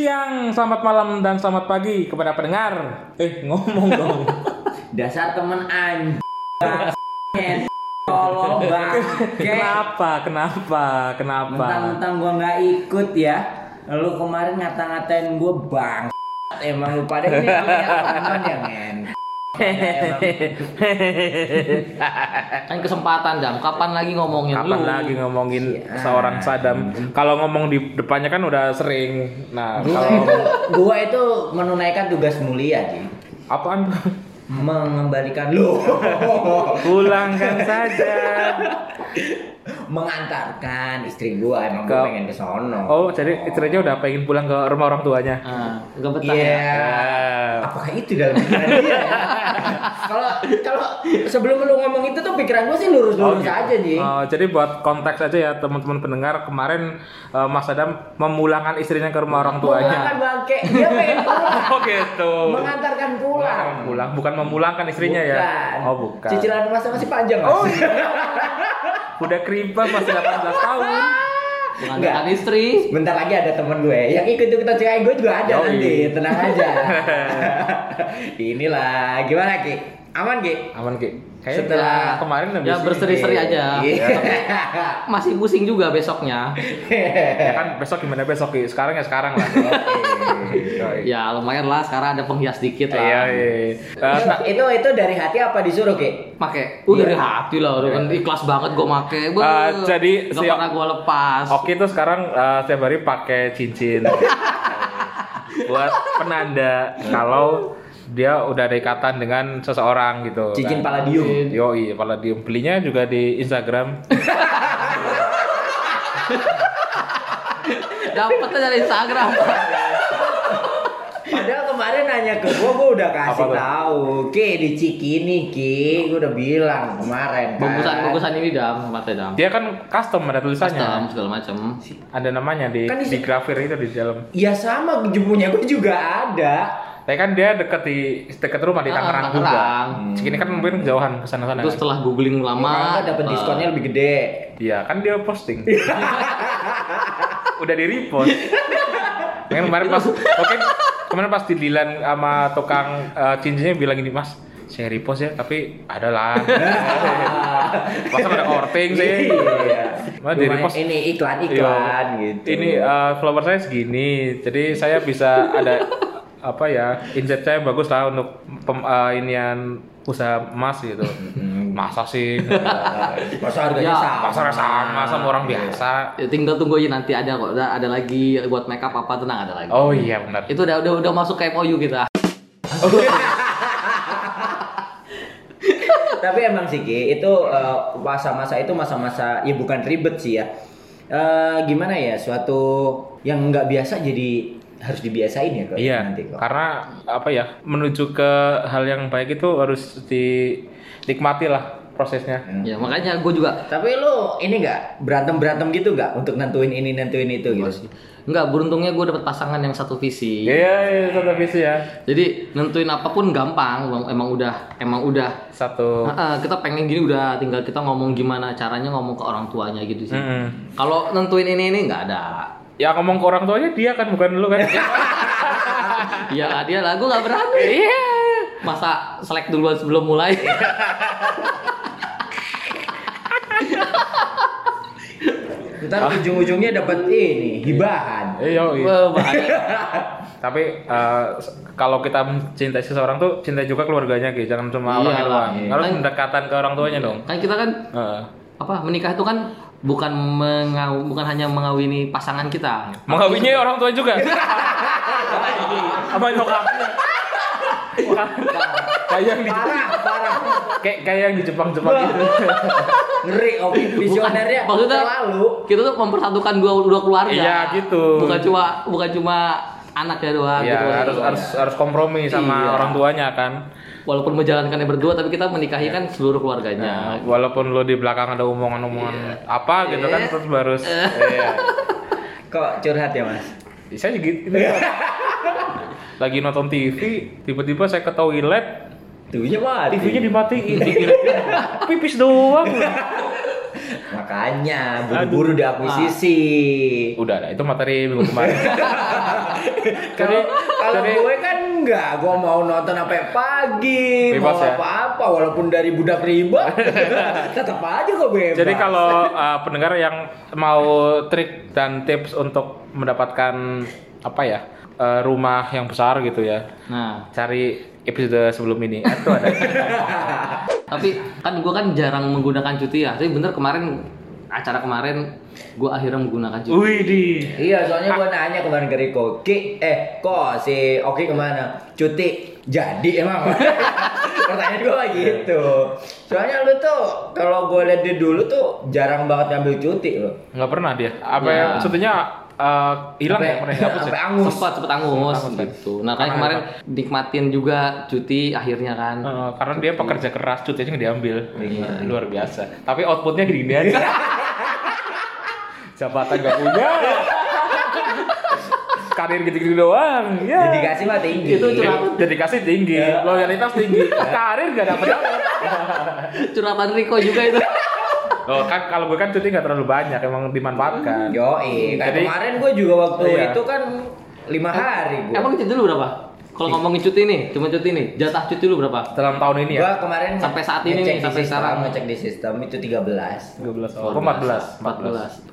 selamat malam dan selamat pagi kepada pendengar. Eh, ngomong dong. Dasar temen anj. Tolong bangke. kenapa? Kenapa? Kenapa? Mentang-mentang gua nggak ikut ya. Lu kemarin ngata-ngatain gua bang. Emang lu pada ini namanya temen ya men. Kan kesempatan dam. Kapan lagi ngomongin Kapan lu? lagi ngomongin Iya. seorang Saddam? Kalau ngomong di depannya kan udah sering. Nah, Gua kalau itu, gitu. gua itu menunaikan tugas mulia sih. apaan? Mengembalikan lu. Pulangkan saja. Mengantarkan istri gua emang Ke- gua pengen ke sono. Oh, jadi istrinya udah pengen pulang ke rumah orang tuanya. Eh, Ah, gak betah Iya. ya. Apakah itu dalam pikiran dia? ya? Kalau kalau sebelum lu ngomong itu tuh pikiran gua sih lurus-lurus gitu. aja nih. Oh, jadi buat konteks aja ya teman-teman pendengar kemarin eh, Mas Adam memulangkan istrinya ke rumah orang tuanya. Memulangkan bangke, dia pengen pulang. Oh gitu. Mengantarkan pulang. Pulang bukan memulangkan istrinya ya. Bukan. Oh bukan. Cicilan masa masih panjang. Mas. Oh, Udah kriba masih 18 tahun. Mengandalkan istri. Bentar lagi ada temen gue yang ikut ikutan cekai gue juga ada Yoi. nanti. Tenang aja. Inilah gimana Ki? Aman Ki? Aman Ki. Kayaknya Setelah- kita kemarin habis Ya berseri-seri aja. Iya. Masih pusing juga besoknya. ya kan besok gimana besok Ki? Sekarang ya sekarang lah. Iya, Yoi. Ya lumayan lah. Sekarang ada penghias dikit lah. Iya. iya. Eh, Itu- nah, itu itu dari hati apa disuruh Ki? Pakai, udah Iya. dari uh, hati lah, udah kan ikhlas banget gue make. Beuh, Ah, jadi gak siap- pernah gue lepas. nah, Oki tuh sekarang eh, setiap hari pakai cincin buat penanda kalau dia udah ada ikatan dengan seseorang gitu. Cincin palladium. Yoi, Palladium. Belinya juga di Instagram. Dapatnya dari Instagram. Padahal kemarin nanya ke gua, gua udah kasih Apa tuh? tahu. Ki di Cikini, Ki, gua udah bilang kemarin. kan. Bungkusan-bungkusan ini dam, matanya dam. Dia kan custom ada tulisannya. Custom segala macam. Ada namanya di Kan di- di grafir itu di dalam. Ya sama, jemunya gua juga ada. Tapi kan dia deket di deket rumah di Ah, Tangerang juga. Tangerang. Segini kan mungkin jauhan ke sana-sana. Terus setelah googling lama, Maka dapat eh, diskonnya lebih gede. Iya, kan dia posting. Udah di repost. Mungkin kemarin pas oke, kemarin pas didilan sama tukang eh, cincinnya bilang gini, "Mas, saya repost ya, tapi ada lah." Masa ada korting sih. Iya. Mah di Lumayan, repost. ini Iya. iklan-iklan gitu. Ini eh, follower saya segini, jadi saya bisa ada apa ya insight saya bagus lah untuk pem, eh, inian usaha emas gitu. Masa sih? masa harganya Ya, sama. Pasarnya sama sama orang biasa. Ya, tinggal tunggu aja nanti ada kok. Ada, ada lagi buat makeup apa tenang ada lagi. Oh iya benar. Itu udah udah udah masuk ke MOU kita. Tapi emang sih Ki, itu eh, masa-masa itu masa-masa ya bukan ribet sih ya. Eh, gimana ya suatu yang nggak biasa jadi harus dibiasain ya kok Iya, nanti kok. karena apa ya menuju ke hal yang baik itu harus dinikmati lah prosesnya. Ya makanya gue juga Tapi lu ini nggak berantem berantem gitu nggak untuk nentuin ini nentuin itu gitu. nggak beruntungnya gue dapet pasangan yang satu visi. Iya, iya, satu visi ya, Jadi nentuin apapun gampang. Emang, emang udah emang udah. satu. Ah, ah, kita pengen gini udah tinggal kita ngomong gimana caranya ngomong ke orang tuanya gitu sih. Mm-mm. Kalau nentuin ini ini nggak ada. Ya ngomong ke orang tuanya dia kan bukan lu kan. Iya lah dia lah gue nggak berani. Iya. Masa selek duluan sebelum mulai. Ntar ujung-ujungnya dapat ini hibahan. Iya, iya. Wah, bahaya. Tapi eh, s- kalau kita mencintai seseorang tuh cintai juga keluarganya gitu, jangan cuma orangnya Iyalah, doang. iya. Harus Kan- pendekatan ke orang tuanya dong. kan kita kan Heeh. apa menikah itu kan bukan mengaw bukan hanya mengawini pasangan kita Mengawinnya ya orang tua juga. Apa nyokapnya? Wah, Kayak yang di Parah, parah. kayak kayak yang di Jepang-Jepang gitu. Ngeri om visionernya Bukan, maksudnya- terlalu. kita tuh mempersatukan dua dua keluarga Iya, gitu. bukan cuma bukan cuma anaknya doang Iya, gitu. harus harus harus kompromi sama Iya. orang tuanya kan. walaupun menjalankannya berdua tapi kita menikahi kan seluruh keluarganya Walaupun lo di belakang ada omongan-omongan Iya. apa gitu kan terus harus iya. Kok curhat ya mas? Saya juga gitu. Lagi nonton TV, tiba-tiba saya ke toilet, Tujuhnya mati. TV-nya dimatiin. Pipis doang. Makanya buru-buru diakuisisi. Ah. Udah, dah, itu materi minggu kemarin. Kalau Jadi- kalau jadi- gue kan enggak, gue mau nonton sampai pagi, Bebas mau ya? apa-apa walaupun dari budak riba, tetap aja gue bebas. Jadi kalau uh, pendengar yang mau trik dan tips untuk mendapatkan apa ya uh, rumah yang besar gitu ya, Nah, cari episode sebelum ini. Ah, Itu ada. tapi kan gue kan jarang menggunakan cuti ya. Tapi bener kemarin acara kemarin gue akhirnya menggunakan cuti. Wih di. Iya, soalnya gue nanya kemarin ke Riko, Ki, eh kok si Oki kemana? Cuti. Jadi emang. Pertanyaan gue gitu. Soalnya lu tuh kalau gue lihat dia dulu tuh jarang banget ngambil cuti loh. Nggak pernah dia. Apa Ya. ya. cutinya uh, hilang ya? Pernah dihapus ya? Sampai angus. sempat sempat angus Angus, kan? gitu. Nah, kayak Karena kemarin nikmatin juga cuti akhirnya kan. Uh, karena dia pekerja keras, cutinya nggak diambil. Luar biasa. Tapi outputnya gini-gini aja. Jabatan gak punya. Karir gitu-gitu doang. Ya. Dedikasi mah tinggi. Eh, Itu cuma- dedikasi tinggi, loyalitas tinggi, karir gak dapet dapet. Curhatan Riko juga itu. Loh, kan kalau gue kan cuti gak terlalu banyak, emang dimanfaatkan. Yoi, kayak Jadi- kemarin gue juga waktu Iya. itu kan lima hari gue. Oh, Eh, Emang cuti lu berapa? Kalau ngomongin cuti nih, cuma cuti nih. Jatah cuti lu berapa? Dalam tahun ini ya, Gua kemarin iya? Sampai saat ini ngecek nih, di sampai sistem, sekarang. ngecek di sistem itu 13. 13 oh,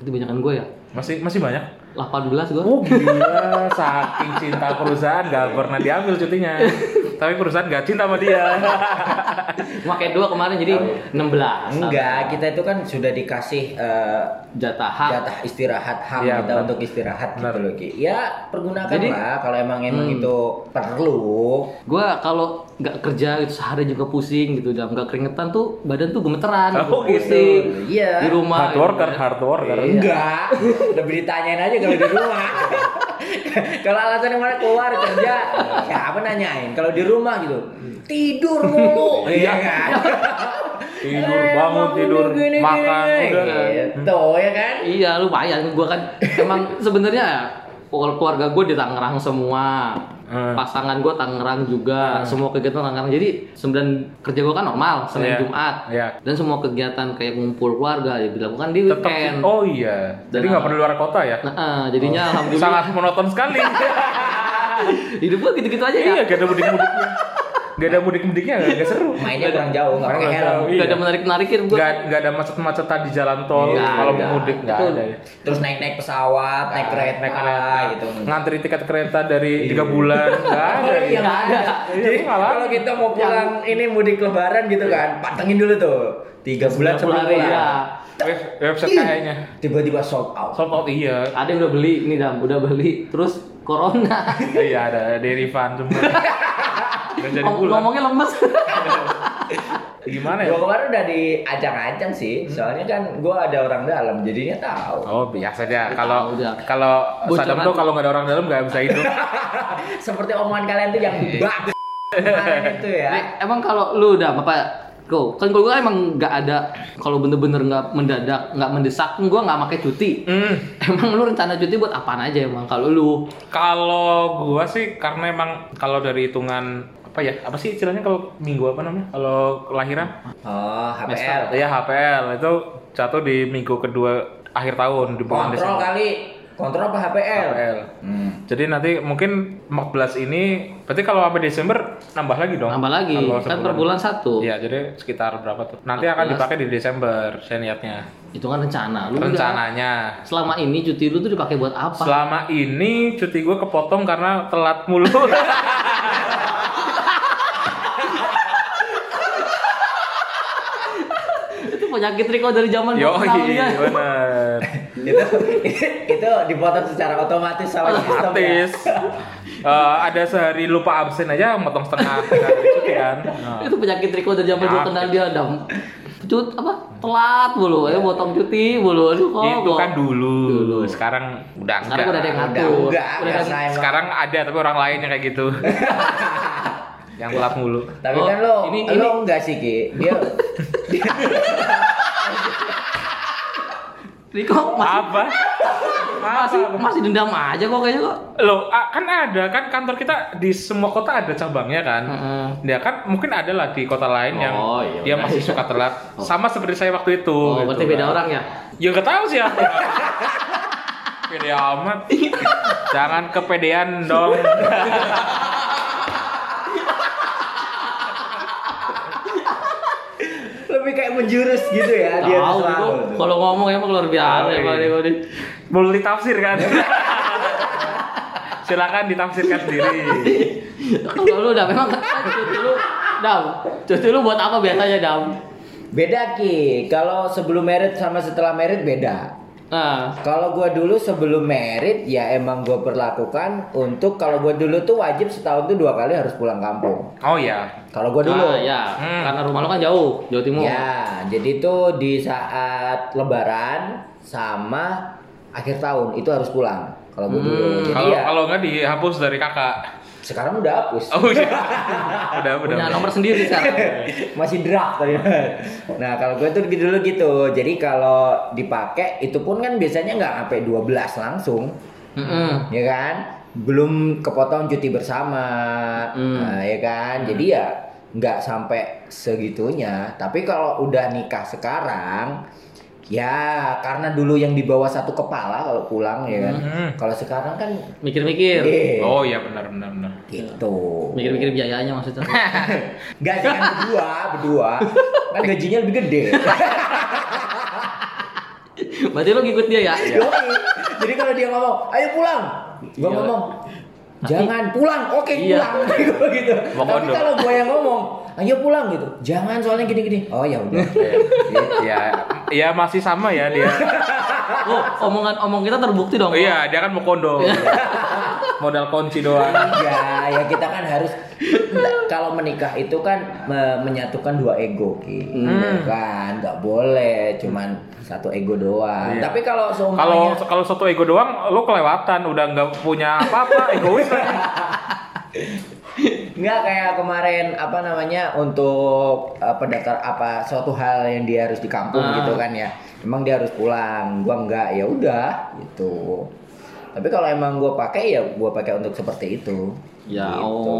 14, 14. 14. Berarti banyakan gue ya? Masih masih banyak. 18 gue. Oh gila, saking cinta perusahaan gak pernah diambil cutinya. Tapi perusahaan gak cinta sama dia. Makai dua kemarin jadi 16. Enggak, kita itu kan sudah dikasih eh, Jatah hak. jatah istirahat hak Iya, kita benar. untuk istirahat Benar. gitu loh Ki. Ya pergunakan Jadi- lah kalau emang emang Hmm. itu perlu. Gue kalau nggak kerja gitu sehari juga pusing gitu, dan nggak keringetan tuh badan tuh gemeteran, Oh, gitu. pusing. Iya. Di rumah. hard worker, gitu kan. hard worker. Enggak, lebih ditanyain aja kalau di rumah. kalau alasannya mana keluar kerja, siapa nanyain? Kalau di rumah gitu, Hmm. tidur mulu, iya kan? Tidur, Eh, bangun, tidur, gini, gini, makan, gini. udah. Gitu ya kan? Iya, lumayan. Gue kan emang sebenarnya keluarga gue di Tangerang semua. Hmm. Pasangan gue Tangerang Ah. juga, semua kegiatan Tangerang. Jadi sembilan kerja gue kan normal, Senin Iya. Jumat. Iya. Dan semua kegiatan kayak ngumpul keluarga ya dilakukan di Tetap, weekend. oh iya, jadi Dan nggak apa? perlu luar kota ya? Nah, eh, jadinya alhamdulillah Sangat monoton sekali. hidup gue gitu-gitu aja ya. Iya, gak ada mudik-mudiknya. Gak ada mudik-mudiknya, gak, gak seru. Mainnya kurang jauh, nggak pakai Iya. Kurang helm. jauh, Gak iya. ada menarik-menarikin gue. nggak nggak ada macet-macetan di jalan tol Nggak kalau ada. mau mudik nggak Betul. ada ya. Terus naik-naik pesawat, naik kereta, Iya. naik kereta gitu. ngantri tiket kereta Iya. dari tiga bulan nggak ada ya. Oh, iya, nggak ada. Jadi Iya, malah. kalau kita mau pulang ini mudik lebaran gitu kan, pantengin dulu tuh. Tiga bulan sebelum Sebelum pulang, pulang. iya. Web- website Ih, kayaknya Tiba-tiba sold out. sold out iya Ada yang udah beli, ini dam, udah beli. Terus corona. iya ada derivan semua dan jadi Ngom- bulan Ngomongnya lemes. gimana ya Gue kemarin udah diajang-ajang sih, soalnya kan gue ada orang dalam, jadinya tahu. Oh biasa aja. Kalau Tahu dia. kalau Bocoran. Saddam tuh kalau nggak ada orang dalam nggak bisa hidup. Seperti omongan kalian tuh yang bak kemarin itu ya. Eh, emang kalau lu udah apa Go. Kan kalau gue emang nggak ada kalau bener-bener nggak mendadak, nggak mendesak, gue nggak pakai cuti. Hmm. Emang lu rencana cuti buat apaan aja emang kalau lu? Kalau gua sih karena emang kalau dari hitungan apa ya apa sih istilahnya kalau minggu apa namanya kalau kelahiran Oh, HPL. Nah. HPL. Iya HPL itu jatuh di minggu kedua akhir tahun di bulan Kontrol Desember. kali. Kontrol apa HPL? HPL. Hmm. Jadi nanti mungkin 14 ini berarti kalau sampai Desember nambah lagi dong. Nambah lagi Nambah kan sebulan. per bulan satu. Iya, jadi sekitar berapa tuh? Nanti akan 14. dipakai di Desember, saya lihatnya. Itu kan rencana. Lu udah- Rencananya. selama ini cuti lu tuh dipakai buat apa? Selama ini cuti gue kepotong karena telat mulu. itu penyakit Riko dari zaman Yo, kenal dia. bener. itu itu dipotong secara otomatis sama sistem. ya. Artis. Eh, ada sehari lupa absen aja motong setengah hari cuti kan. Nah. Itu penyakit Riko dari zaman dulu Penyakit. kenal dia dam. Cut apa? Telat mulu, ya potong cuti mulu. Aduh kok. Iya. itu kan dulu. Oh, Dulu. Sekarang udah Sekarang udah ada yang Udah ngatur. enggak, Udah enggak ada- saya emang. Sekarang ada tapi orang lain yang kayak gitu. yang telat mulu. Tapi Oh, kan lo, ini- lo enggak sih Ki. Dia Riko masih Apa? masih, masih dendam aja kok kayaknya kok. Loh, a- kan ada kan kantor kita di semua kota ada cabangnya kan. Heeh. Ya kan mungkin ada lah di kota lain yang Oh, iya dia benar. masih suka telat. Sama seperti saya waktu itu. Oh, gitu berarti beda kan. orang ya. Ya nggak tahu sih aku. pede amat. Jangan kepedean dong. Lebih kayak menjurus gitu ya dia Tahu tuh selalu. gua, tuh. kalau ngomong emang luar biasa Tahu, ya Pak iya. Depodi. Multi tafsir kan. Silakan ditafsirkan sendiri. Kalau lu udah memang cuti lu Dam, cuti lu buat apa biasanya Dam? Beda Ki, kalau sebelum merit sama setelah merit beda. Nah, Kalau gua dulu sebelum merit ya emang gua perlakukan untuk kalau gua dulu tuh wajib setahun tuh dua kali harus pulang kampung. Oh ya. Kalau gua dulu. ah, ya, Hmm. karena rumah lu kan jauh, Jawa Timur. Ya, jadi tuh di saat lebaran sama akhir tahun itu harus pulang. Kalau gue dulu. Hmm, Jadi Kalau ya, kalau nggak dihapus dari kakak. sekarang udah hapus. Oh iya. Udah udah. Iya. Punya nomor sendiri sekarang. Masih draft tadi. Nah, kalau gue tuh gitu dulu gitu. Jadi kalau dipakai itu pun kan biasanya nggak sampai 12 langsung, Heeh. ya kan? Belum kepotong cuti bersama. Hmm. Nah, ya kan? Jadi ya nggak sampai segitunya. Tapi kalau udah nikah sekarang Ya, karena dulu yang dibawa satu kepala kalau pulang ya kan. Hmm. Kalau sekarang kan Mikir-mikir. eh, Oh iya benar benar benar. gitu. Mikir-mikir biayanya maksudnya. Enggak sih kan berdua, berdua. Kan gajinya lebih gede. Berarti lu ngikut dia ya? Iya. Yoi. Jadi kalau dia ngomong, "Ayo pulang." Gua Iya. ngomong, "Jangan pulang." Oke, Iya. pulang. Gua gitu. Mau Tapi kondom. kalau gua yang ngomong, "Ayo pulang" gitu. Jangan soalnya gini-gini. Oh ya udah. Ya ya masih sama ya dia. Oh, omongan omong kita terbukti dong. Oh iya, dia kan mau kondo. Modal kunci doang. Iya, ya kita kan harus kalau menikah itu kan me- menyatukan dua ego, Ki. Ya kan nggak boleh cuman satu ego doang. Iya. Tapi kalau Kalau seumpamanya kalau satu ego doang, lu kelewatan, udah nggak punya apa-apa, egois kan? Nggak kayak kemarin apa namanya untuk eh, pendaftar apa suatu hal yang dia harus di kampung Ah. gitu kan ya. Emang dia harus pulang, gua nggak ya udah gitu. Tapi kalau emang gua pakai ya gua pakai untuk seperti itu. Ya, Gitu.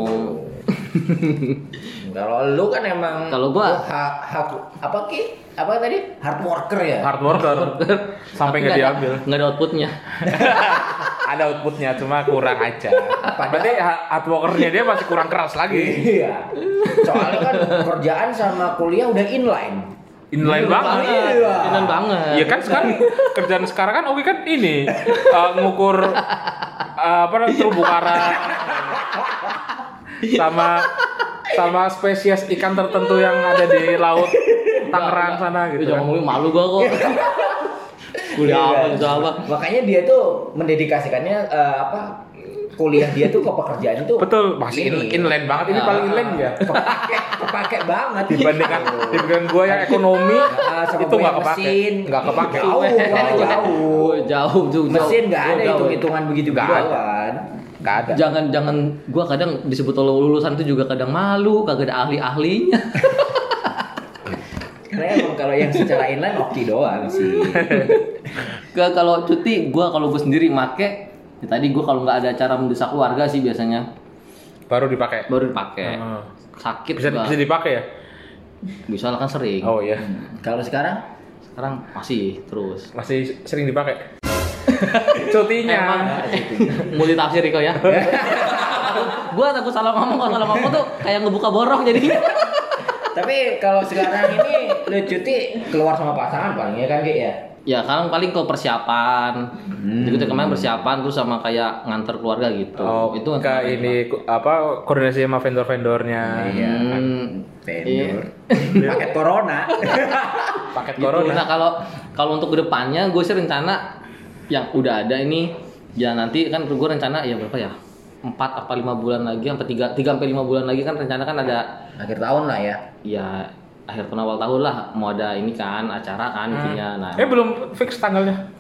kalau lu kan emang Kalau gua- ha- ha- apa ki apa tadi hard worker ya. Hard worker, sampai nggak diambil. Enggak ada outputnya. Ada outputnya, cuma kurang aja. Padahal- Berarti ha- hard workernya dia masih kurang keras lagi. Iya. Soalnya kan kerjaan sama kuliah udah inline. Inline banget. Iya. Inline banget. Iya kan sekarang kerjaan sekarang kan Oki kan ini eh, ngukur eh, apa namanya terumbu karang sama sama spesies ikan tertentu yang ada di laut Tangerang sana Ih, gitu. Iya, Jangan kan. ngomongin malu gua kok. Kuliah Iya, apa kan? gitu apa. Makanya dia tuh mendedikasikannya eh, apa kuliah dia tuh ke pekerjaan itu. Betul, masih in- inline banget ini paling inline ya. Kepake, kepake banget Dibandingkan dibandingkan gua yang ekonomi Oh. Ah, sama itu nggak gua yang kepake. mesin. Gitu. Nggak kepake. Jauh, jauh, jauh. Gua jauh jauh. Mesin nggak Gua ada jauh. hitung-hitungan begitu Nggak doang. ada. Nggak ada. gitu. Jangan jangan gua kadang disebut kalau lulusan tuh juga kadang malu, kagak ada ahli-ahlinya. Karena emang kalau yang secara inline oke doang sih. Ke kalau cuti gua kalau gua sendiri make ya tadi gua kalau nggak ada acara mendesak keluarga sih biasanya Baru dipakai. baru dipakai. Hmm. Sakit Bisa gua. bisa dipakai ya? Bisa lah kan sering. Oh iya. Kalau sekarang Sekarang masih terus. Masih sering dipakai. Emang Cutinya. multi tafsir Riko ya. gua takut salah ngomong kalau salah ngomong tuh kayak ngebuka borok jadi. Tapi kalau sekarang ini lu cuti keluar sama pasangan paling ya kan Ki ya? Ya sekarang paling ke persiapan. Hmm. Jadi kita kemarin persiapan terus sama kayak nganter keluarga gitu. Oh, itu itu kan enggak kemarin. ini ya. ku- apa koordinasi sama vendor-vendornya. Iya. Hmm, Vendor. Paket corona. Paket gitu. corona. Ah. Nah kalau kalau untuk kedepannya gue sih rencana yang udah ada ini ya nanti kan gue rencana ya berapa ya empat apa lima bulan lagi sampai tiga tiga sampai lima bulan lagi kan rencana kan ada Akhir tahun lah ya. ya akhir tahun awal tahun lah mau ada ini kan acara kan intinya nah, Eh belum fix tanggalnya.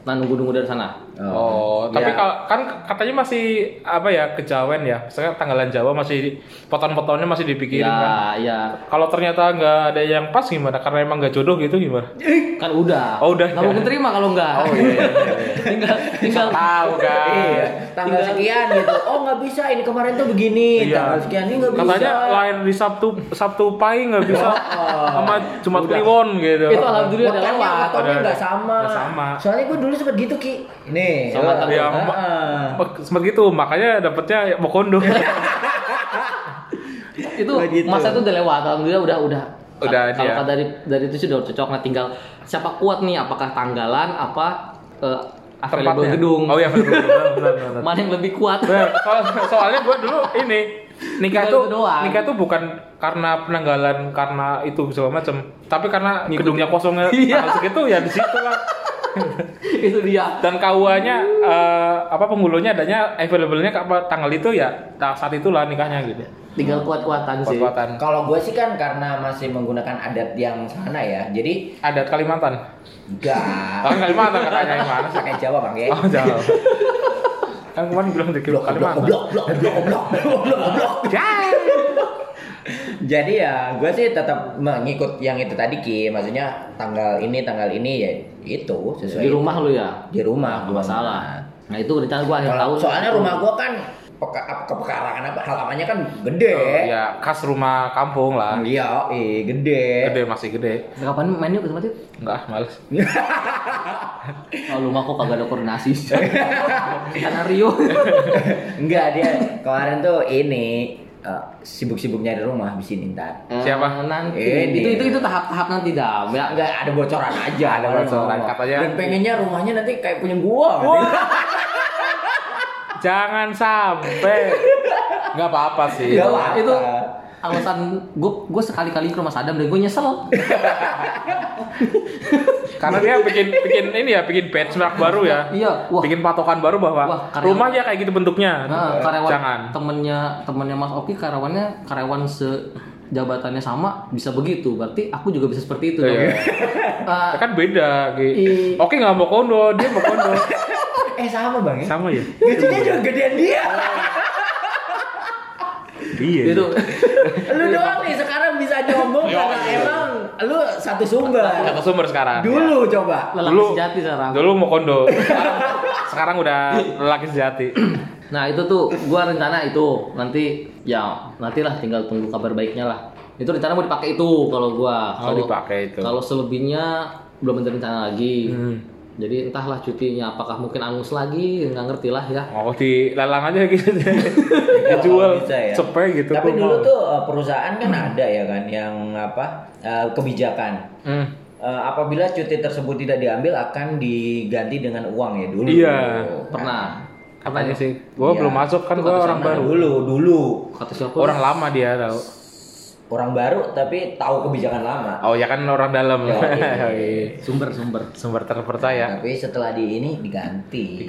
nah nunggu nunggu dari sana Oh, tapi Iya. kalau kan katanya masih apa ya kejawen ya. Misalnya tanggalan Jawa masih poton-potonnya masih dipikirin Iya. kan. ya ya Kalau ternyata nggak ada yang pas gimana? Karena emang nggak jodoh gitu gimana? kan udah Oh, udah, nggak mungkin terima kalau nggak Oh iya. iya, iya. tinggal tinggal Tahu kan. Iya, tanggal Tinggal- sekian gitu. Oh nggak bisa, ini kemarin tuh begini, Iya. tanggal sekian ini nggak bisa. Katanya lain di Sabtu Sabtu Pahing nggak bisa Oh. sama Jumat Kliwon gitu. Itu alhamdulillah udah Makanya lewat. ototnya Udah- nggak sama. nggak sama. Soalnya gue dulu sempet gitu ki. Ah. Nih. Sama lo- tanggal. Ya, Heeh. ma- sempat gitu makanya dapetnya Mokondo. Iya. Itu Oh, gitu. masa itu udah lewat. Alhamdulillah udah udah Udah, kalau iya. kata dari dari itu sudah cocok nah tinggal siapa kuat nih apakah tanggalan apa eh, available Tempatnya. gedung Oh iya, benar benar benar, benar. mana yang lebih kuat Benar, soal- soalnya gue dulu ini nikah Tinggal tuh itu doang. nikah tuh bukan karena penanggalan karena itu segala macam tapi karena gedungnya kosongnya Iya. tanggal segitu ya di situ lah itu dia dan KUA-nya eh, apa penggulunya adanya available-nya apa tanggal itu ya ta- saat itulah nikahnya gitu tinggal kuat-kuatan Iya sih kuat-kuatan Kalau gue sih kan karena masih menggunakan adat yang sana ya, jadi adat Kalimantan enggak kan Kalimantan katanya gimana sih pakai Jawa bang ya. oh jauh kan kemarin bilang dari Blok, blok, Kalimantan Ya. blok, blok, blok, blok, blok, blok, blok. Jadi ya gue sih tetap mengikut yang itu tadi Ki, maksudnya tanggal ini tanggal ini ya itu sesuai di rumah lu ya di rumah nggak gua. masalah nah itu rencana gua akhir tahun Kalau soalnya rumah gua kan peka, ap- kepekarangan apa halamannya kan gede. ya khas rumah kampung lah Iya, eh gede. gede masih gede kapan main yuk ke tempat yuk enggak males oh, rumah kok kagak ada koordinasi karena Rio Enggak dia kemarin tuh ini eh, sibuk-sibuknya di rumah habisin intan. Siapa? Eh, nanti Ini. itu itu itu tahap-tahap nanti dah ya Enggak ada bocoran aja, Ada bocoran, ngomong. katanya- Dan pengennya rumahnya nanti kayak punya gua. Jangan sampai. Nggak apa-apa sih. Iya. Nggak apa-apa. itu alasan gue gue sekali-kali ke rumah Sadam dan gue nyesel Karena dia bikin bikin ini ya, bikin benchmark baru ya. iya wah Bikin patokan baru bahwa Wah, karyawan. rumahnya kayak gitu bentuknya. Nah, karyawan Jangan. temennya temennya Mas Oki karyawannya karyawan se jabatannya sama bisa begitu berarti aku juga bisa seperti itu dong. Iya. Ah, Ya kan beda, Ki. Iya. Oke nggak mau kondo, dia mau kondo. eh sama Bang ya. Sama ya. Gajinya juga gedean dia. Iya. itu lu doang nih sekarang bisa nyombong karena iya. emang lu satu sumber. Satu sumber sekarang. Dulu coba. lelaki Dulu- sejati sekarang Dulu mau kondo. Sekarang, sekarang udah lelaki sejati. nah itu tuh gua rencana itu nanti ya nantilah tinggal tunggu kabar baiknya lah itu rencana mau dipakai itu kalau gua Kalau Oh, dipakai itu. kalau selebihnya belum ada rencana lagi Hmm. jadi entahlah cutinya apakah mungkin angus lagi nggak ngerti lah ya Mau dilelang aja gitu. Dijual Bisa ya. cepet gitu. Gua Tapi dulu mau. tuh eh, perusahaan kan ada ya kan yang apa eh, kebijakan. Hmm. Eh, apabila cuti tersebut tidak diambil akan diganti dengan uang ya dulu. Iya. pernah Katanya sih, gua Iya. belum masuk kan Itu gua kata orang sana. baru. Dulu dulu kata siapa Orang lama dia tahu. orang baru tapi tahu kebijakan lama. Oh ya kan orang dalam. Yo, iya. Yoi. sumber sumber Sumber terpercaya. Tapi setelah di ini diganti.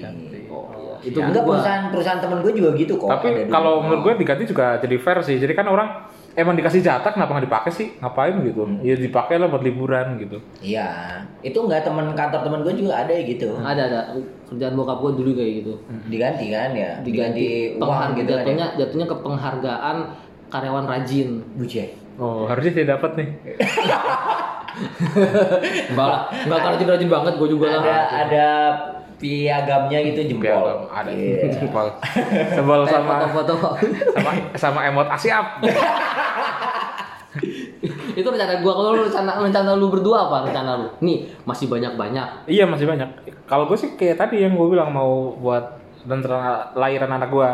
Oh, Itu itu enggak gua. perusahaan perusahaan temen gue juga gitu kok. ada Tapi dulu. kalau menurut gue diganti juga jadi fair sih. Jadi kan orang emang dikasih jatah kenapa nggak dipakai sih? Ngapain gitu? Hmm. Ya dipakai lah buat liburan gitu. Iya, itu enggak temen kantor temen gue juga ada ya gitu. ada ada kerjaan bokap gue dulu kayak gitu Diganti kan ya, diganti, diganti uang penghargaan gitu kan. Ya. jatuhnya jatuhnya ke penghargaan karyawan rajin Bucek. Oh harusnya saya dapat nih. enggak lah enggak rajin rajin banget gue juga lah ada ada piagamnya gitu jempol. Biar ada Iya. sebel, sebel Kayak sama foto-foto sama sama emot Ah, asiap. itu rencana gue kalau lu rencana rencana lu berdua apa rencana lu nih masih banyak banyak iya masih banyak. Kalau gue sih kayak tadi yang gue bilang mau buat rencana lahiran anak gue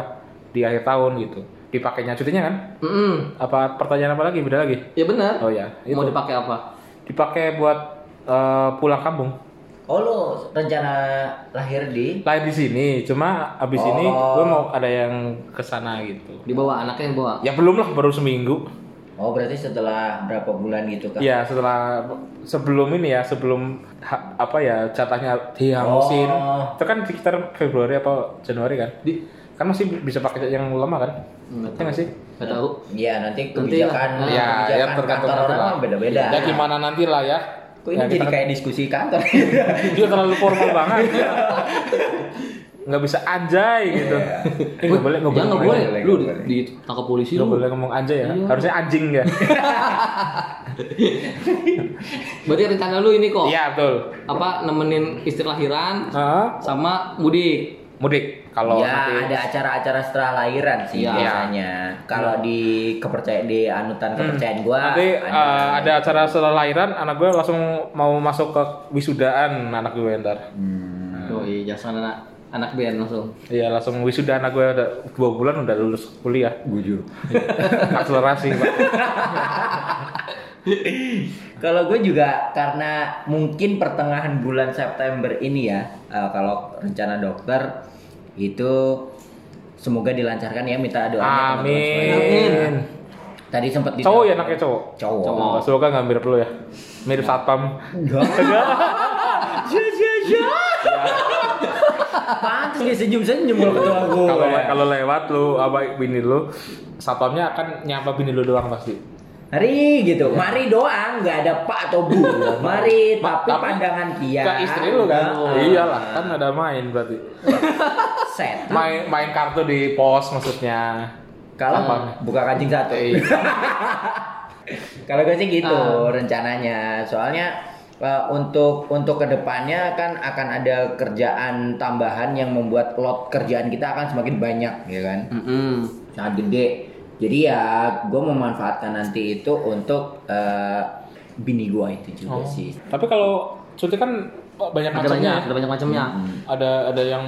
di akhir tahun gitu. Dipakainya cutinya kan? mm Apa pertanyaan apa lagi? Beda lagi? ya benar Oh ya, itu mau dipakai apa dipakai buat eh, pulang kampung. Oh lo rencana lahir di Lain di sini, cuma abis Oh. ini gue mau ada yang ke sana gitu. dibawa anaknya yang bawa Ya belum lah, baru seminggu. Oh berarti setelah berapa bulan gitu kan? Ya setelah sebelum ini ya, sebelum ha- apa ya jatahnya dihamusin. Oh. Itu kan sekitar Februari apa Januari kan? di Kan masih bisa pakai yang lama kan? nggak Ya nggak sih? Nggak tahu Iya nanti Nanti lah. kebijakan Nah, ya, ya Ah, kebijakan tergantung kantor nanti orang lah. mah beda-beda. Ya gimana nanti lah ya. Kok ini Ya, jadi kita- kayak gitu? diskusi kantor? Dia terlalu formal banget. nggak bisa anjay gitu. Iya. Eh, nggak boleh, nggak Ya boleh, nggak nggak boleh, boleh. lu nggak boleh. ditangkap polisi Nggak lu. boleh ngomong anjay ya. Iya. Harusnya anjing ya. Berarti rencana lu ini Oh. kok Iya betul. apa nemenin istri lahiran Heeh. sama mudik. mudik kalau ya nanti ada acara-acara setelah lahiran sih Iya. biasanya. Kalau di kepercayaan di anutan kepercayaan gua Iya. Hmm. nanti eh, ada, ada. acara setelah lahiran anak gue langsung mau masuk ke wisudaan anak gue ntar Hmm. Oh iya, jangan anak anak band langsung. iya langsung wisuda anak gue udah dua bulan udah lulus kuliah Bujur. akselerasi Pak. Kalau gue juga karena mungkin pertengahan bulan September ini ya, eh, kalau rencana dokter itu semoga dilancarkan ya minta doanya teman-teman semua. amin Tadi sempat di cowok ya anaknya cowok Cowok. Oh, semoga nggak mirip lu ya mirip satpam Ya ya ya. Pantes dia senyum-senyum kalau ketua gue. kalau kalau lewat lu apa bini lu satpamnya akan nyapa bini lu doang pasti Mari gitu, mari doang, nggak ada pak atau bu. Mari, tapi pandangan dia. ke istri lu kan Nah, iyalah kan ada main berarti Set. main main kartu di pos maksudnya Kalau Hmm. buka kancing satu. Iya. Kalau gue sih gitu Hmm. Ah. rencananya. Soalnya eh, untuk untuk kedepannya kan akan ada kerjaan tambahan yang membuat lot kerjaan kita akan semakin banyak, ya kan? Mm-mm. Sangat gede. Jadi ya gue memanfaatkan nanti itu untuk eh, bini gue itu Iya juga Oh. sih. Tapi kalau cuti kan oh, banyak Ada macamnya. banyak, ya. ada banyak macamnya. Ada ada yang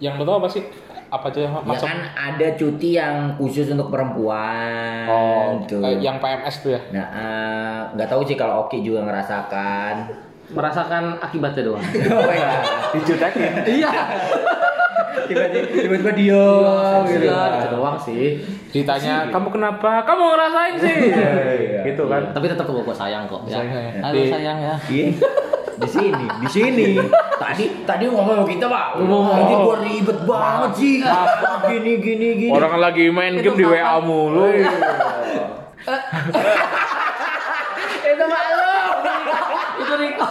yang lo tau apa sih? Apa aja yang Ya macam? kan ada cuti yang khusus untuk perempuan. oh, tuh. eh, yang PMS tuh ya. Nah, eh, nggak tahu sih kalau Oki juga ngerasakan. Merasakan akibatnya doang. Oh, ya. Dijutekin. Iya. Tiba-tiba tiba-tiba diem gitu. Iya, itu doang sih. Ditanya, "Kamu kenapa? Kamu ngerasain sih?" iya. gitu kan. Tapi tetap gua, gua sayang kok. Ya. Sayang, ya. Halo Di- sayang ya. Iya. Di sini, di sini. Tadi tadi ngomong sama kita, Pak. Ngomong. Tadi gua ribet banget sih. Ah, Gini gini gini. Iya. Orang lagi main game di WA mulu. Iya. Itu Pak lu. Itu Riko.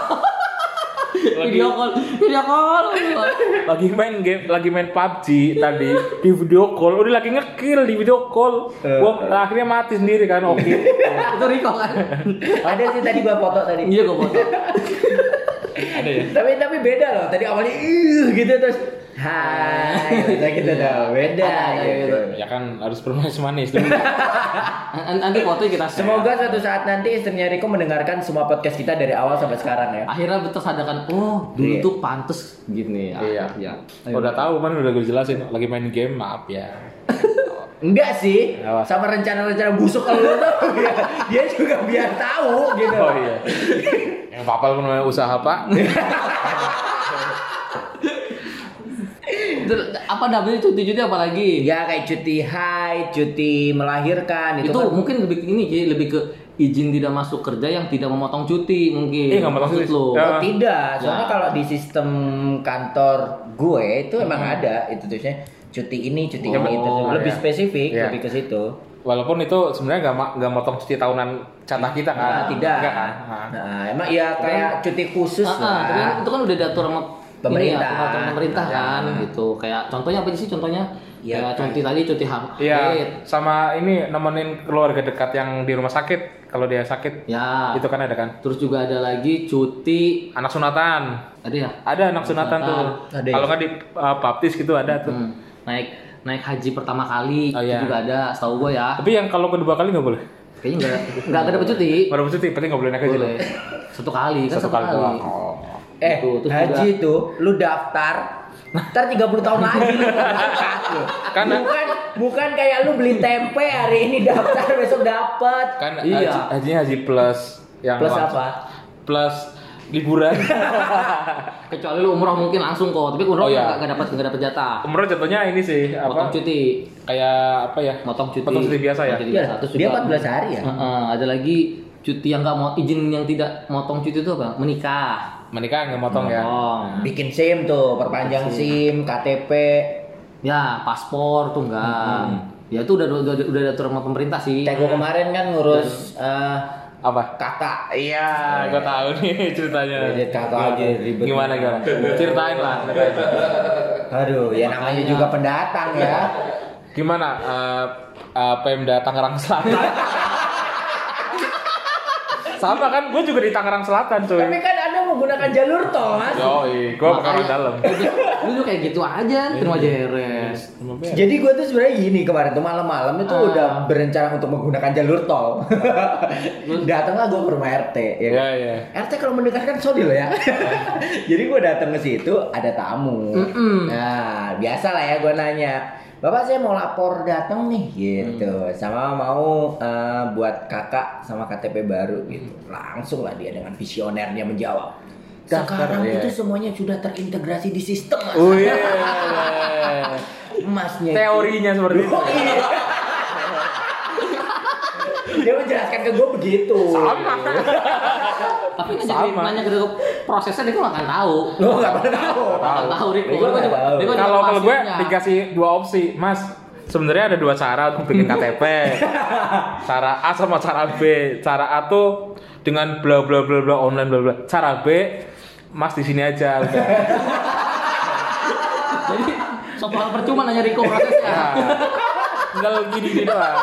video call, video call. lagi main game, lagi main PUBG tadi di video call. Udah lagi ngekill di video call. Gua akhirnya mati sendiri kan, oke. itu Riko kan. Ada sih tadi gua foto tadi. Iya gua foto. Ada ya. Tapi tapi beda loh. Tadi awalnya ih gitu terus Hai, gitu gitu dah. Beda Ada, ada, gitu. Ya kan harus bermanis manis. N- Nanti foto kita share. Semoga suatu saat nanti istrinya Riko mendengarkan semua podcast kita dari awal sampai sekarang ya. akhirnya betul sadarkan oh dulu Iya. tuh pantes gini ya Iya. iya Udah tahu kan udah gue jelasin lagi main game, maaf ya. Enggak sih, Apa? sama rencana-rencana busuk kalau lu tahu dia, dia juga biar tahu gitu. Oh iya. Yang papal pun namanya usaha pak. Ter- apa namanya cuti-cuti apa lagi Ya kayak cuti haid, cuti melahirkan itu itu, kan- mungkin lebih ke ini Ki, lebih ke izin tidak masuk kerja yang tidak memotong cuti mungkin Iya, nggak memotong Maksud cuti. lo Ya. Oh, tidak, soalnya Ya. kalau di sistem kantor gue itu emang Hmm. ada itu tulisnya cuti ini, cuti Ya, Oh, ini itu lebih iya. spesifik, Iya. lebih ke situ. Walaupun itu sebenarnya nggak ma- nggak motong cuti tahunan catah kita Ah, kan? Nah, tidak. Nggak kan? Nah. Nah, emang ya kayak cuti khusus Ah, ah, tapi kan lah. itu kan udah diatur sama Pemerintah. ini ya, peraturan pemerintah Ya. kan gitu kayak contohnya apa sih contohnya Ya, ya kan. cuti tadi cuti ham Iya. haid. Sama ini nemenin keluarga dekat yang di rumah sakit kalau dia sakit. ya Itu kan ada kan? terus juga ada lagi cuti Anak sunatan. ada ya Ada anak sunatan tuh. Ada ya? Kalau nggak di uh, baptis gitu ada tuh. Hmm, naik naik haji pertama kali Oh, itu iya. juga ada setahu gue ya Tapi yang kalau kedua kali nggak boleh. kayaknya nggak nggak ada dapat cuti Baru cuti, penting nggak boleh naik haji. boleh satu kali kan Satu kali doang. Oh. Eh, Gitu, terus haji itu lu daftar Ntar 30 tahun lagi lu berangkat lu. Kan- bukan bukan kayak lu beli tempe hari ini daftar besok dapet. Kan Iya. haji, hajinya haji plus yang Plus langsung- apa? Plus liburan. kecuali lu umroh mungkin langsung kok tapi Oh, umroh iya. nggak nggak dapat nggak dapat jatah Umroh jatuhnya ini sih potong apa? cuti kayak apa ya? motong cuti Potong cuti biasa ya? Potong cuti biasa. Iya, Terus dia juga- 14 hari ya. Heeh, ada lagi cuti yang nggak mau izin yang tidak motong cuti itu apa menikah Menikah nggak motong ya? motong Bikin SIM tuh, perpanjang SIM, KTP. ya paspor tuh nggak ya itu udah udah udah diatur sama pemerintah sih Kayak gua kemarin kan ngurus eh, Apa? kakak. Iya, gue tahu nih ceritanya. Jadi kakak aja ribet. Gimana gimana? Ceritain lah. ceritain. Aduh, ya namanya Makanya. juga pendatang ya. Gimana eh, eh, Pemda Tangerang Selatan? Sama kan, gue juga di Tangerang Selatan cuy. Tapi kan Anda menggunakan jalur tol, Mas. Yoi, gue orang dalam. Iya. Lu tuh kayak gitu aja, terima jeres. Jadi gue tuh sebenarnya gini kemarin tuh malam-malam itu Ah. udah berencana untuk menggunakan jalur tol. Datanglah gue ke rumah RT ya. Iya, kan? iya. RT kalau mendengarkan sorry loh Oh. ya. Jadi gue datang ke situ ada tamu. Mm-mm. Nah biasa lah ya gue nanya. Bapak saya mau lapor datang Mm. nih gitu, sama mau eh, buat kakak sama KTP baru gitu. Langsung lah dia dengan visionernya menjawab. Sekarang Daftar, ya. itu semuanya sudah terintegrasi di sistem. Mas." Oh iya. Emasnya. itu- Teorinya seperti itu. Dia menjelaskan ke gue begitu. Sama. Tapi kan jadi Sama. nanya ke prosesnya dia tuh nggak akan tahu. Lo nggak pernah tahu. Nggak akan tahu, Rick. Gue nggak tahu. Rick, juga Kalau kalau gue pastinya. dikasih dua opsi, Mas. Sebenarnya ada dua cara untuk bikin KTP. Cara A sama cara B. Cara A tuh dengan bla bla bla bla online bla bla. Cara B Mas di sini aja udah. Jadi soal percuma nanya Riko prosesnya. Nah, tinggal gini gini doang.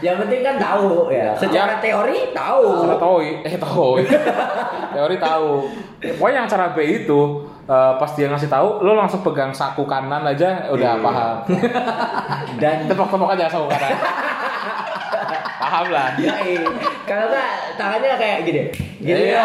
Yang penting kan tahu ya. Secara Ya. teori tahu. Sama tahu, eh tahu. Teori tahu. Ya, Pokoknya yang cara B itu eh, pas dia ngasih tahu, lo langsung pegang saku kanan aja udah paham. Dan Tepok-tepok aja saku kanan. paham lah. Yoi. Kalau nggak eh, tangannya kayak gini. Gini. Iya. kan.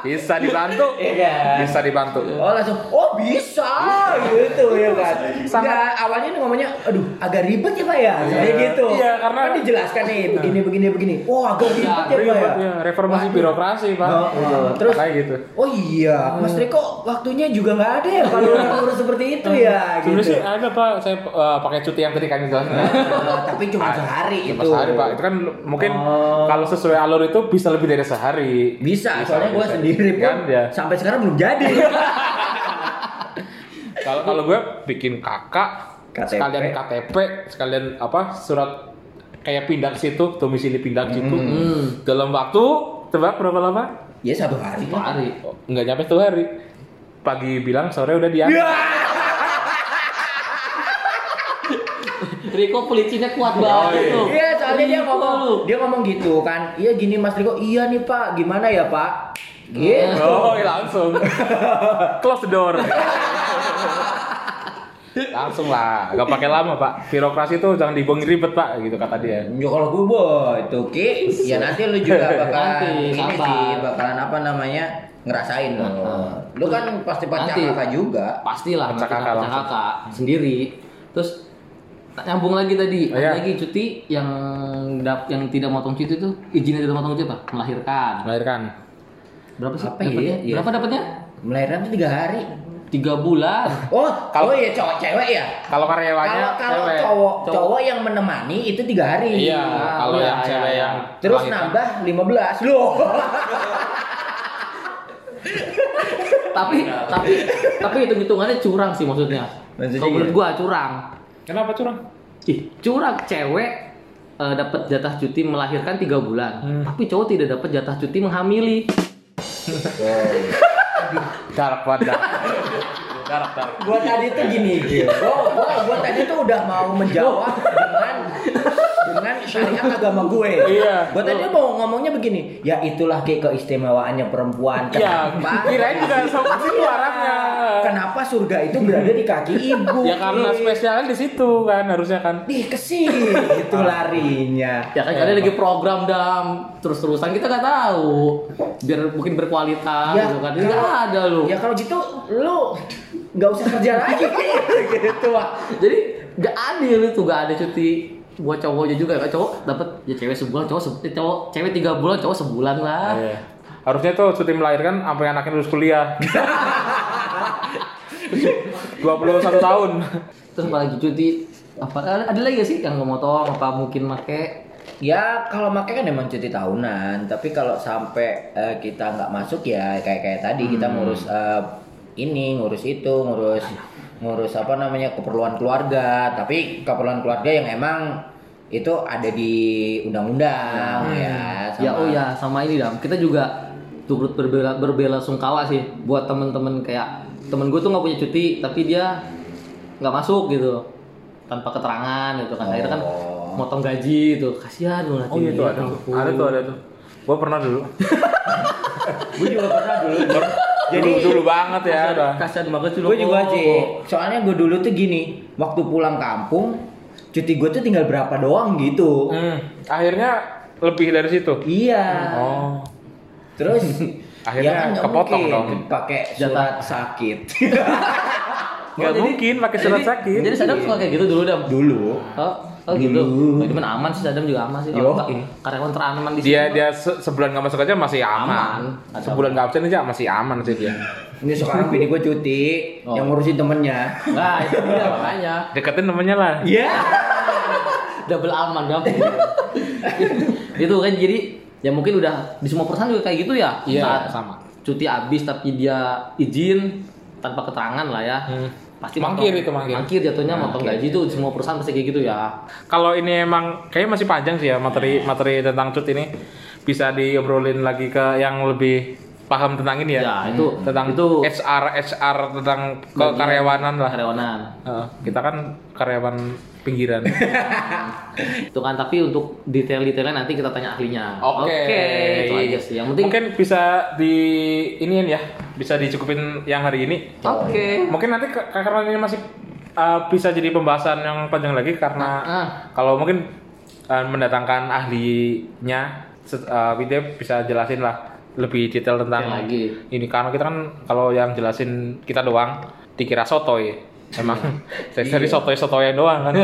Bisa dibantu. Iya kan? Bisa dibantu. Oh langsung, oh bisa gitu Iya. ya kan. Sangat- Nah, awalnya nih ngomongnya, aduh agak ribet ya pak ya, kayak gitu. Iya, karena- Nah. Iya, kan dijelaskan nih begini begini begini. Oh agak ribet ya pak Ribet ya. ya, reformasi Waduh. birokrasi, Pak. Oh, oh. Terus- kayak gitu. Oh iya, Mas Riko waktunya juga nggak ada ya kalau ngurus seperti itu ya Iya. Sebenarnya gitu. sih ada Pak, saya eh, pakai cuti yang tadi kami jelasin. Eh, tapi cuma sehari itu. Ah, Cuma sehari pak, itu kan mungkin gitu. Oh. kalau sesuai alur itu bisa lebih dari sehari. Bisa, soalnya gue bisa. sendiri pun kan ya. sampai sekarang belum jadi. Kalau kalau gue bikin kakak, KTP. sekalian KTP, sekalian apa surat kayak pindah ke situ, domisili pindah ke situ. Hmm. Dalam waktu tebak berapa lama? ya satu hari. Pak Ari. Oh, Nggak nyampe tuh hari. Pagi bilang sore udah dia. Iya, Riko pelicinnya kuat banget Yoi. tuh. Iya, soalnya dia Riko ngomong, lu. dia ngomong gitu kan. Iya gini Mas Riko, iya nih Pak, gimana ya Pak? Gitu. Oh, langsung. Close the door. langsung lah, nggak pakai lama pak. Birokrasi itu jangan dibuang ribet pak, gitu kata dia. Ya kalau gue boy, tuh Ki, ya nanti lu juga bakalan Nanti, ini sabar. sih, bakalan apa namanya ngerasain lo. Lu kan pasti pacar Nanti. kakak juga. pastilah Pecah nanti kakak kakak langsung. kakak sendiri terus nyambung lagi tadi Oh, ada iya. lagi cuti yang dap yang tidak motong cuti itu izinnya tidak motong cuti apa melahirkan Ah, Melahirkan. berapa sih Apa ya? dapatnya? Iya. berapa dapatnya Melahirkan tuh tiga hari. tiga bulan Oh, Kalau- kalau ya cowok cewek ya. Kalau karyawannya Kalau kalau cewek. cowok Cowok. cowok yang menemani itu tiga hari. Iya, kalau Iya, yang iya, cewek iya. yang Terus melahirkan. nambah 15 loh. tapi tapi tapi hitung hitungannya curang sih maksudnya Maksudnya kalau menurut iya. gua curang Kenapa curang? ih curang cewek eh, dapat jatah cuti melahirkan tiga bulan Hmm. tapi cowok tidak dapat jatah cuti menghamili Darak banget. darak. darak darak. gua tadi tuh gini Gil. gua, gua, gua tadi tuh udah mau menjawab dengan dengan syariat agama gue Iya. gua tadi mau ngomongnya begini ya itulah kayak keistimewaannya perempuan Iya, kenapa Iya. kirain juga sama situ arahnya. kenapa surga itu berada di kaki ibu Iya. Ya karena spesialnya di situ kan harusnya kan. Ih, kesini itu Ah. larinya Ya kan Ya, ada Pak. lagi program dam terus-terusan kita nggak tahu biar mungkin Ah, berkualitas gitu kan Ini nggak Ya. kalau- ada lu ya kalau gitu lu nggak usah kerja lagi gitu Wak. jadi nggak adil itu nggak ada cuti buat cowoknya juga ya cowok dapat ya cewek sebulan cowok se- eh, cowok cewek tiga bulan cowok sebulan lah Eh. Iya. Harusnya tuh cuti melahirkan sampai anaknya lulus kuliah. 21 tahun. terus apa lagi cuti apa ada lagi nggak sih yang nggak motong apa mungkin make Ya kalau makanya kan emang cuti tahunan, tapi kalau sampai eh, kita nggak masuk ya kayak kayak tadi kita ngurus eh, ini, ngurus itu, ngurus ngurus apa namanya keperluan keluarga, tapi keperluan keluarga yang emang itu ada di undang-undang ya. sama- Ya oh ya sama ini dam. Kita juga turut berbela, berbela sungkawa sih buat temen-temen kayak temen gue tuh nggak punya cuti tapi dia nggak masuk gitu tanpa keterangan gitu kan akhirnya kan Oh. motong gaji itu kasihan lu Oh iya tuh ya ada. Ada tuh ada tuh. Gua pernah dulu. Gue juga pernah dulu. Jadi dulu, dulu banget ya udah. kasihan banget sih lu Gue juga Oh. sih. Soalnya gue dulu tuh gini, waktu pulang kampung, cuti gue tuh tinggal berapa doang gitu. Hmm, akhirnya lebih dari situ. Iya. Oh. Terus Akhirnya kan nggak kepotong mungkin dong. Pakai surat sakit. Nggak jadi- mungkin pakai surat jadi- sakit. Jadi sadam suka kayak gitu dulu dam. dulu. Oh, oh gitu. Dulu. Oh, cuman aman sih sadam juga aman sih. Yo. Kalau nggak, karyawan teraman di Dia sini. dia se- sebulan nggak masuk aja masih Aman. aman. Ada Sebulan nggak absen aja masih aman sih dia. Ini sekarang bini gue cuti, Oh. yang ngurusin temennya. Nah, itu dia makanya. Deketin temennya lah. Iya. Double aman dam. itu kan jadi ya mungkin udah di semua perusahaan juga kayak gitu ya. Iya, Saat sama. Cuti habis tapi dia izin tanpa keterangan lah ya. Hmm. Pasti Mangkir motong- itu, mangkir. Ah. Mangkir jatuhnya motong gaji itu di semua perusahaan pasti kayak gitu ya. Kalau ini emang kayaknya masih panjang sih ya Iya. materi materi tentang cut ini bisa diobrolin lagi ke yang lebih paham tentang ini ya. Ya, itu tentang itu HR HR tentang Bagian kekaryawanan lah. karyawanan. Heeh, kita kan karyawan pinggiran. itu kan tapi untuk detail-detailnya nanti kita tanya ahlinya itu aja sih yang penting mungkin bisa di iniin ya, bisa dicukupin yang hari ini. oke Mungkin nanti ke- karena ini masih uh, bisa jadi pembahasan yang panjang lagi karena ah kalau mungkin uh, mendatangkan ahlinya se- uh, dia bisa jelasin lah lebih detail tentang Detail lagi. ini karena kita kan kalau yang jelasin kita doang dikira sotoy emang dari sotoy sotoyan doang kan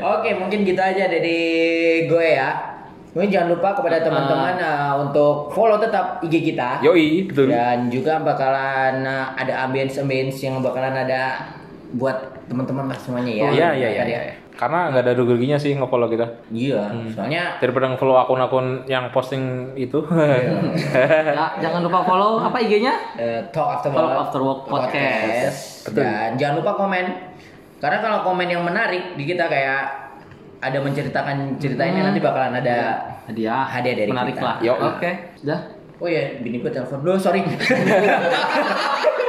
Oke, mungkin gitu aja dari gue ya. Mungkin jangan lupa kepada teman-teman eh, untuk follow tetap IG kita. yoi betul Dan juga bakalan eh, ada ambience-ambience yang bakalan ada buat teman-teman lah semuanya ya. Iya, iya, Tadi iya. ya. Karena nggak ada ruginya sih nge-follow kita. Iya, Hmm. soalnya Daripada nge-follow akun-akun yang posting itu. Iya. Ya, jangan lupa follow apa IG-nya eh, Talk After Talk Work After Work Podcast. Betul. Dan jangan lupa komen. Karena kalau komen yang menarik di kita kayak ada menceritakan cerita ini nanti bakalan ada hadiah Hadiah dari menarik kita. lah Yo. oke sudah Oh iya, bini gue telepon dulu, sorry.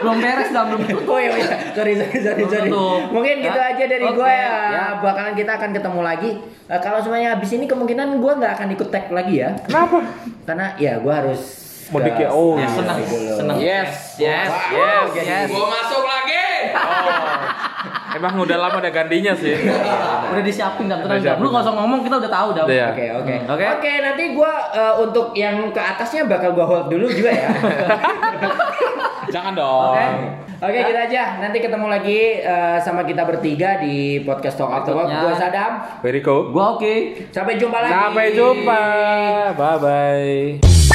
belum beres dah belum oh iya, iya. sorry, sorry, sorry, sorry. Tutup. Mungkin gitu Ya. aja dari Oke. gue ya. Ya. Bakalan kita akan ketemu lagi. Eh, kalau semuanya habis ini kemungkinan gue nggak akan ikut tag lagi ya. Kenapa? Karena ya gue harus Mau ke- Iya. dikit. Oh, ya, senang senang Yes, yes yes yes Oh. Emang udah lama ada gantinya sih. udah disiapin dan Udah tenang Dam. lu siapin. nggak usah ngomong kita udah tahu dah Udah ya. Oke oke Hmm, oke. oke nanti gua eh, untuk yang ke atasnya bakal gua hold dulu juga ya. Jangan dong. Oke oke kita aja nanti ketemu lagi eh, sama kita bertiga di podcast Talk After Work. Berikutnya. Gua Sadam. Very cool. gua oke Sampai jumpa lagi. Sampai jumpa. Bye bye.